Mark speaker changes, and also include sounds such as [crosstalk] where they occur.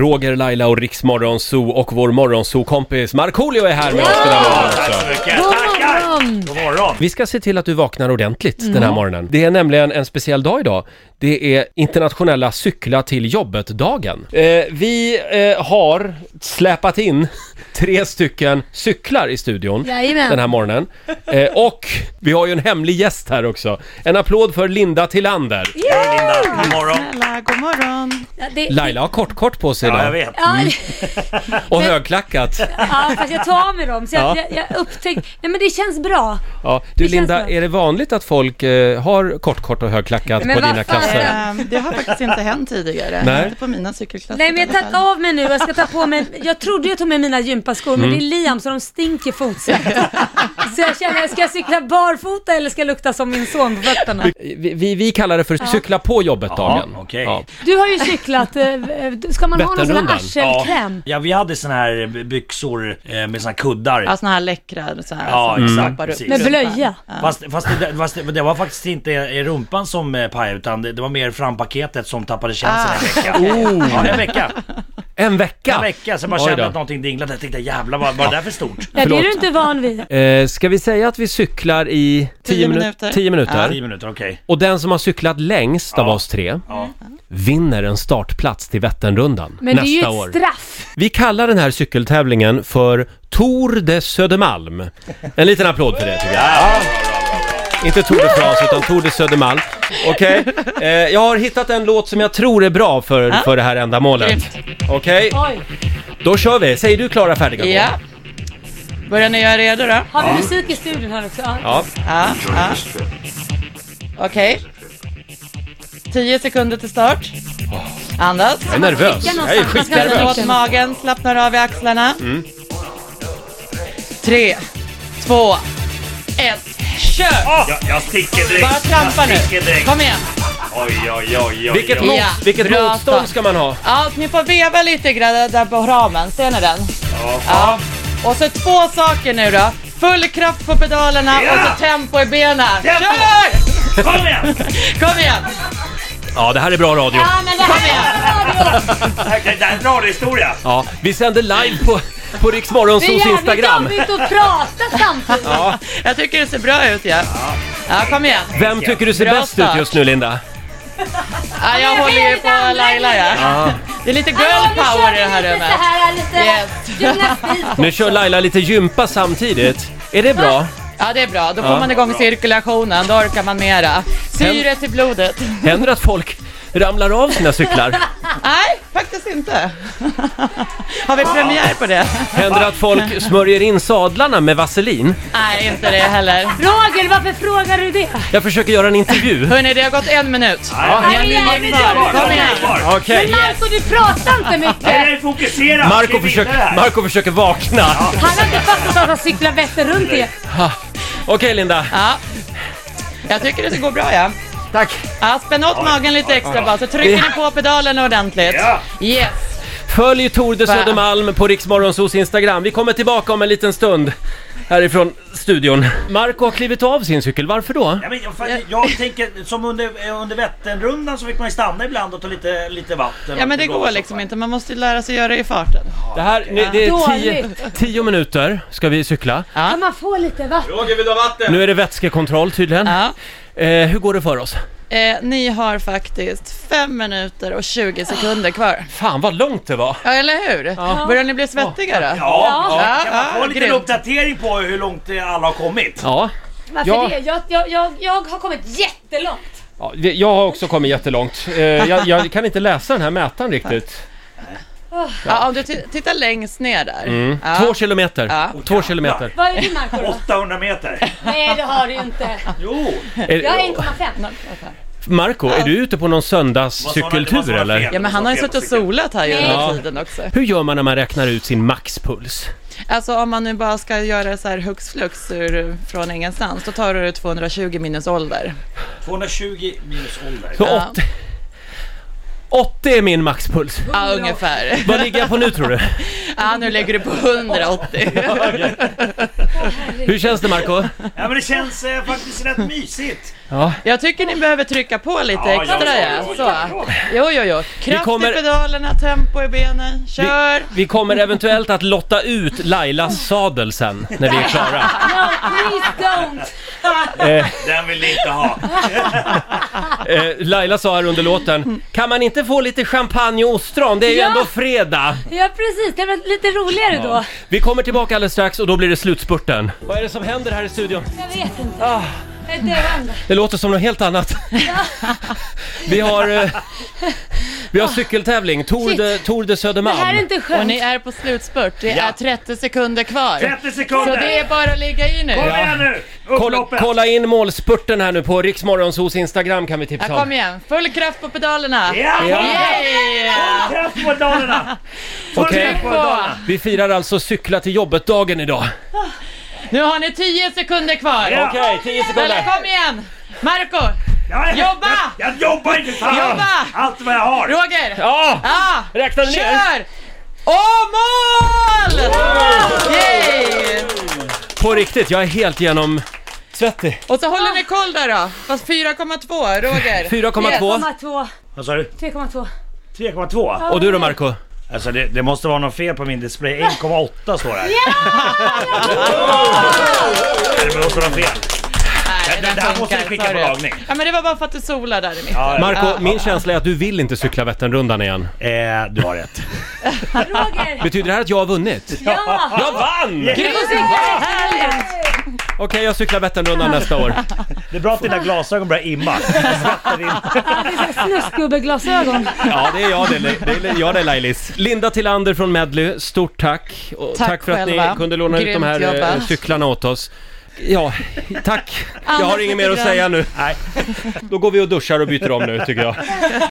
Speaker 1: Roger, Laila och Riksmorgonzoo och vår morgonzoo-kompis Markoolio är här med oss den här morgonen
Speaker 2: Tack
Speaker 1: också.
Speaker 2: så mycket!
Speaker 3: God
Speaker 2: Tackar!
Speaker 3: morgon!
Speaker 2: God morgon!
Speaker 1: Vi ska se till att du vaknar ordentligt den
Speaker 2: Mm.
Speaker 1: här morgonen. Det är nämligen en speciell dag idag. Det är internationella cykla till jobbet-dagen. Eh, vi eh, har släpat in [laughs] tre stycken cyklar i studion
Speaker 3: Jajamän.
Speaker 1: den här morgonen. Eh, och vi har ju en hemlig gäst här också. En applåd för Linda Tillander.
Speaker 2: Hej Linda! God morgon!
Speaker 4: Snälla, god morgon.
Speaker 3: Ja, det,
Speaker 1: Laila Mm. har kortkort på sig
Speaker 2: Ja, jag
Speaker 1: idag
Speaker 2: vet.
Speaker 3: Ja,
Speaker 1: och högklackat.
Speaker 3: [laughs] ja, fast jag tar av mig dem. Så jag,
Speaker 1: Ja.
Speaker 3: jag, jag upptäckte... Nej men det känns bra.
Speaker 1: Ja, du
Speaker 3: Det känns
Speaker 1: Linda,
Speaker 3: bra.
Speaker 1: är det vanligt att folk eh, har kortkort och högklackat
Speaker 3: Men
Speaker 1: på
Speaker 3: vad
Speaker 1: dina
Speaker 3: fan är
Speaker 1: klasser?
Speaker 3: det?
Speaker 4: Ehm, Det har faktiskt inte hänt tidigare.
Speaker 1: Nej.
Speaker 4: Inte på mina cykelklasser
Speaker 3: Nej men jag
Speaker 4: i alla fall.
Speaker 3: tar av mig nu. Jag ska ta på mig... Jag trodde jag tog med mina gympaskor men det
Speaker 1: Mm.
Speaker 3: är Liam så de
Speaker 1: [laughs]
Speaker 3: stinker fotsvett. Så jag känner, ska jag cykla barfota eller ska jag lukta som min son på fötterna?
Speaker 1: Vi, vi, vi kallar det för cykla på jobbet-dagen.
Speaker 2: Jaha, okej.
Speaker 3: Du har ju cyklat. eh, eh, Ska man ha någon sån här
Speaker 1: Vätternrundan.
Speaker 3: arselkräm?
Speaker 2: Ja, vi hade såna här b- byxor eh, med såna här kuddar.
Speaker 4: Ja, såna här läckra så här,
Speaker 2: Ja,
Speaker 4: som
Speaker 2: exakt,
Speaker 4: stoppar upp
Speaker 2: precis.
Speaker 3: Med
Speaker 4: rumpan.
Speaker 3: blöja.
Speaker 4: Ja.
Speaker 2: Fast, fast, det, fast det, det var faktiskt inte i rumpan som eh, pajade utan det, det var mer frampaketet som tappade känslan en vecka.
Speaker 1: Oh,
Speaker 2: Ja, en vecka.
Speaker 1: en vecka!
Speaker 2: En vecka. Så jag bara
Speaker 1: Oj då.
Speaker 2: kände att någonting dinglade. Jag tänkte jävlar vad var det där för stort?
Speaker 3: Ja, det är
Speaker 1: Förlåt.
Speaker 3: du inte van vid.
Speaker 1: Eh, ska vi säga att vi cyklar i 10
Speaker 4: Tio
Speaker 1: minuter?
Speaker 4: minuter.
Speaker 1: 10 minuter.
Speaker 2: Tio minuter, okej.
Speaker 1: Och den som har cyklat längst av
Speaker 2: Ja.
Speaker 1: oss tre
Speaker 2: Ja.
Speaker 1: vinner en startplats till Vätternrundan
Speaker 3: Men det
Speaker 1: nästa
Speaker 3: är ju
Speaker 1: år.
Speaker 3: ett straff.
Speaker 1: Vi kallar den här cykeltävlingen för Tour de Södermalm. En liten applåd för det tycker jag.
Speaker 2: Ah.
Speaker 1: Inte Tour de France utan Tour de Södermalm. Okej, eh, jag har hittat en låt som jag tror är bra för, för det här ändamålet. Okej,
Speaker 3: Oj.
Speaker 1: då kör vi. Säger du klara, färdiga, gå.
Speaker 4: Ja. Börjar ni göra redo då?
Speaker 3: Har vi musik i studion här också? Ja.
Speaker 1: Ja.
Speaker 4: Ja. ja. Okej. Tio sekunder till start. Andas.
Speaker 1: Jag är nervös. Jag är
Speaker 3: någonstans. Man ska
Speaker 4: Känner
Speaker 1: skitnervös.
Speaker 4: åt magen, slappnar av i axlarna.
Speaker 2: Mm.
Speaker 4: Tre, två, ett, kör!
Speaker 2: Ah. Jag, jag sticker direkt.
Speaker 4: Bara trampa
Speaker 2: Jag
Speaker 4: nu.
Speaker 2: sticker direkt.
Speaker 4: Kom igen.
Speaker 2: Oj, oj, oj, oj.
Speaker 1: Vilket,
Speaker 2: oj.
Speaker 1: mot,
Speaker 4: Ja,
Speaker 1: vilket
Speaker 4: bra
Speaker 1: motstånd
Speaker 4: start.
Speaker 1: ska man ha?
Speaker 4: Ja, ni får veva lite grann där på ramen. Ser ni den? Ja. Och så två saker nu då. Full kraft på pedalerna
Speaker 2: Ja!
Speaker 4: och så tempo i benen.
Speaker 2: Tempo!
Speaker 4: Kör!
Speaker 2: Kom igen!
Speaker 4: Kom igen!
Speaker 1: Ja, det här är bra radio.
Speaker 3: Ja, men det här är radio.
Speaker 2: Det det här är en radiohistoria.
Speaker 1: Ja, vi sänder live på, på Rix Morgonzoos Instagram.
Speaker 3: Det är jävligt jobbigt att prata samtidigt.
Speaker 1: Ja.
Speaker 4: Jag tycker det ser bra ut ja. Ja, kom igen.
Speaker 1: Vem tycker du ser
Speaker 4: Bra
Speaker 1: bäst ut
Speaker 4: start.
Speaker 1: just nu, Linda?
Speaker 4: Ja, jag
Speaker 3: Men
Speaker 4: håller
Speaker 3: vi
Speaker 4: ju
Speaker 3: är lite
Speaker 4: på Laila ja. Det är lite girl power i det här
Speaker 3: lite
Speaker 4: rummet.
Speaker 3: så här, lite
Speaker 4: Yes.
Speaker 3: gymnastik.
Speaker 1: Nu kör Laila lite gympa samtidigt. Är det bra?
Speaker 4: Ja, det är bra. Då får
Speaker 1: Ja.
Speaker 4: man igång cirkulationen. Då orkar man mera. Syret i blodet.
Speaker 1: Händer det att folk ramlar av sina
Speaker 3: [laughs]
Speaker 1: cyklar?
Speaker 4: Nej, faktiskt inte. Har vi premiär på det?
Speaker 1: Händer det att folk smörjer in sadlarna med vaselin?
Speaker 4: Nej, inte det heller.
Speaker 3: Roger, varför frågar du det?
Speaker 1: Jag försöker göra en intervju.
Speaker 4: Hörni, det har gått en minut.
Speaker 3: Det är jävligt
Speaker 2: Kvar,
Speaker 3: jobbigt.
Speaker 2: kom igen, kvar.
Speaker 1: Okej.
Speaker 3: Men Marco, du pratar inte mycket.
Speaker 2: Jag är fokuserad.
Speaker 1: Marco, försöker, Marco försöker vakna.
Speaker 3: Han har inte fattat att han cyklar Vätternrundan. igen.
Speaker 1: Okej Linda,
Speaker 4: Ja. Jag tycker det går bra ja.
Speaker 1: tack.
Speaker 4: ja spänn åt magen lite extra bara så trycker ni på pedalen ordentligt.
Speaker 2: Ja.
Speaker 4: Yes.
Speaker 1: Följ Tour de
Speaker 4: Va?
Speaker 1: Södermalm på Riksmorgonsos Instagram. Vi kommer tillbaka om en liten stund härifrån studion. Marco har klivit av sin cykel, varför då?
Speaker 2: Ja, men jag, fan, jag tänker, som under, under Vätternrundan så fick man ju stanna ibland och ta lite, lite vatten. och
Speaker 4: Ja men
Speaker 2: lite
Speaker 4: det går
Speaker 2: blås.
Speaker 4: liksom inte, man måste ju lära sig göra det i farten.
Speaker 1: Det här, nu, det är tio,
Speaker 3: Dåligt.
Speaker 1: tio minuter ska vi cykla.
Speaker 3: Kan man få lite vatten?
Speaker 1: Nu är det vätskekontroll tydligen.
Speaker 4: Ja.
Speaker 1: Eh, hur går det för oss?
Speaker 4: Eh, ni har faktiskt 5 minuter och 20 sekunder kvar.
Speaker 1: Fan vad långt det var!
Speaker 4: Ja eller hur? Börjar ni bli svettiga då?
Speaker 2: Ja,
Speaker 3: Ja.
Speaker 2: kan man få
Speaker 4: Ja,
Speaker 2: en liten
Speaker 4: grymt.
Speaker 2: uppdatering på hur långt eh, alla har kommit?
Speaker 1: Ja,
Speaker 3: Varför
Speaker 1: Ja.
Speaker 3: det? Jag, jag, jag, jag har kommit jättelångt.
Speaker 1: ja vi- jag har också kommit jättelångt. Eh, jag, jag kan inte läsa den här mätaren riktigt.
Speaker 4: Ja, om du ti- tittar längst ner där. Ja.
Speaker 1: Mm. Två kilometer.
Speaker 4: Ja.
Speaker 1: Två kilometer.
Speaker 3: Vad är du Marco
Speaker 4: [laughs]
Speaker 3: då?
Speaker 2: 800 meter.
Speaker 3: Nej, det har du ju inte.
Speaker 2: Jo!
Speaker 1: Är-
Speaker 3: Jag är 1,5.
Speaker 1: Marco, är du ute på någon
Speaker 2: Vad sa
Speaker 1: söndagscykeltur
Speaker 2: han- vad sa han
Speaker 1: eller?
Speaker 2: fel?
Speaker 4: Ja men han har ju suttit och solat här ju
Speaker 1: Ja.
Speaker 4: under tiden också.
Speaker 1: Hur gör man när man räknar ut sin maxpuls?
Speaker 4: Alltså om man nu bara ska göra så här hux flux ur, från ingenstans, då tar du 220 minus ålder.
Speaker 2: 220 minus ålder.
Speaker 1: Så
Speaker 4: Ja.
Speaker 1: 80... 80 är min maxpuls.
Speaker 4: Ja, ungefär.
Speaker 1: Vad ligger jag på nu tror du?
Speaker 4: Ja, nu ligger du på 180.
Speaker 1: Hur känns det Marco?
Speaker 2: Ja men det känns eh, faktiskt rätt mysigt.
Speaker 1: Ja.
Speaker 4: Jag tycker ni behöver trycka på lite
Speaker 2: Ja,
Speaker 4: extra
Speaker 2: ja, ja,
Speaker 4: ja,
Speaker 2: ja,
Speaker 4: så. Jo, jo, jo. Kraft
Speaker 1: kommer-
Speaker 4: i pedalerna, tempo i benen, kör!
Speaker 1: Vi kommer eventuellt att lotta ut Lailas sadel sen när vi är
Speaker 2: [laughs]
Speaker 1: klara.
Speaker 3: No, please don't!
Speaker 2: Den vill ni inte ha.
Speaker 1: Eh, Laila sa här under låten, kan man inte få lite champagne och ostron? Det är ju
Speaker 3: Ja.
Speaker 1: ändå fredag!
Speaker 3: Ja precis, det var lite roligare då.
Speaker 1: Vi kommer tillbaka alldeles strax och då blir det slutspurten. Vad är det som händer här i studion?
Speaker 3: Jag vet inte. Ah. Jag är döende.
Speaker 1: Det låter som något helt annat. Vi har, eh, vi har cykeltävling, Tour de, Tour de
Speaker 3: Det här är
Speaker 1: Södermalm.
Speaker 3: inte
Speaker 4: Och
Speaker 3: skönt.
Speaker 4: ni är på slutspurt, det är 30 sekunder kvar.
Speaker 2: 30
Speaker 4: Så
Speaker 2: sekunder!
Speaker 4: det är bara att ligga i nu.
Speaker 2: Kom igen nu!
Speaker 1: Kolla,
Speaker 2: Upploppet!
Speaker 1: kolla in målspurten här nu på Riksmorgonsos Instagram kan vi
Speaker 4: Ja,
Speaker 1: tipsa
Speaker 4: kom
Speaker 1: om.
Speaker 4: igen, full kraft på pedalerna!
Speaker 2: Ja!
Speaker 1: Ja.
Speaker 4: Yay!
Speaker 2: Kraft på Dalarna! Full
Speaker 1: Okej.
Speaker 2: kraft på
Speaker 4: På.
Speaker 2: Dalarna!
Speaker 1: Vi firar alltså cykla till jobbet-dagen idag.
Speaker 4: Nu har ni 10 sekunder kvar!
Speaker 2: Ja.
Speaker 1: Okej, 10
Speaker 4: Eller
Speaker 1: sekunder.
Speaker 4: kom igen! Marco!
Speaker 2: Ja, jag-
Speaker 4: Jobba!
Speaker 2: Jag, jag jobbar inte fan!
Speaker 4: Jobba!
Speaker 2: Allt vad jag har!
Speaker 4: Roger!
Speaker 1: Ja,
Speaker 4: Ah!
Speaker 1: räkna ner!
Speaker 4: Kör! Och mål! Yay!
Speaker 1: På riktigt, jag är helt genom svettig.
Speaker 4: Och så håller ni koll där då. Fast 4,2 [laughs] Roger.
Speaker 1: 4,2.
Speaker 3: 3,2.
Speaker 2: Vad sa du?
Speaker 3: 3,2.
Speaker 2: 3,2?
Speaker 1: Och du då Marco?
Speaker 2: Alltså det, det måste vara något fel på min display. 1,8 står det här. Nej, Det måste vara fel.
Speaker 4: Nej,
Speaker 2: Det- det här måste vi
Speaker 4: funkar,
Speaker 2: skicka
Speaker 4: sorry.
Speaker 2: på lagning.
Speaker 4: Ja men det var bara för att du solade där i mitten.
Speaker 2: Ja, ja.
Speaker 1: Marco, min känsla är att du vill inte cykla Vätternrundan igen.
Speaker 2: Eh, du har rätt.
Speaker 3: Roger!
Speaker 1: Betyder det här att jag har vunnit?
Speaker 3: Ja!
Speaker 1: Jag vann! Okej, jag cyklar Vätternrundan nästa år.
Speaker 2: Det är bra att dina glasögon börjar imma. Svetten in.
Speaker 3: Snuskgubbeglasögon.
Speaker 1: Ja, det är jag det. Det är jag det Lailis. Linda Tillander från Medley, stort tack. Och
Speaker 4: Tack
Speaker 1: för att
Speaker 4: själva.
Speaker 1: ni kunde låna ut de
Speaker 4: Grymt
Speaker 1: här eh,
Speaker 4: jobbat.
Speaker 1: cyklarna åt oss. Ja, tack. Jag har
Speaker 4: Annars
Speaker 1: inget
Speaker 4: lite
Speaker 1: mer att
Speaker 4: grann.
Speaker 1: säga nu.
Speaker 2: Nej.
Speaker 1: Då går vi och duschar och byter om nu tycker jag.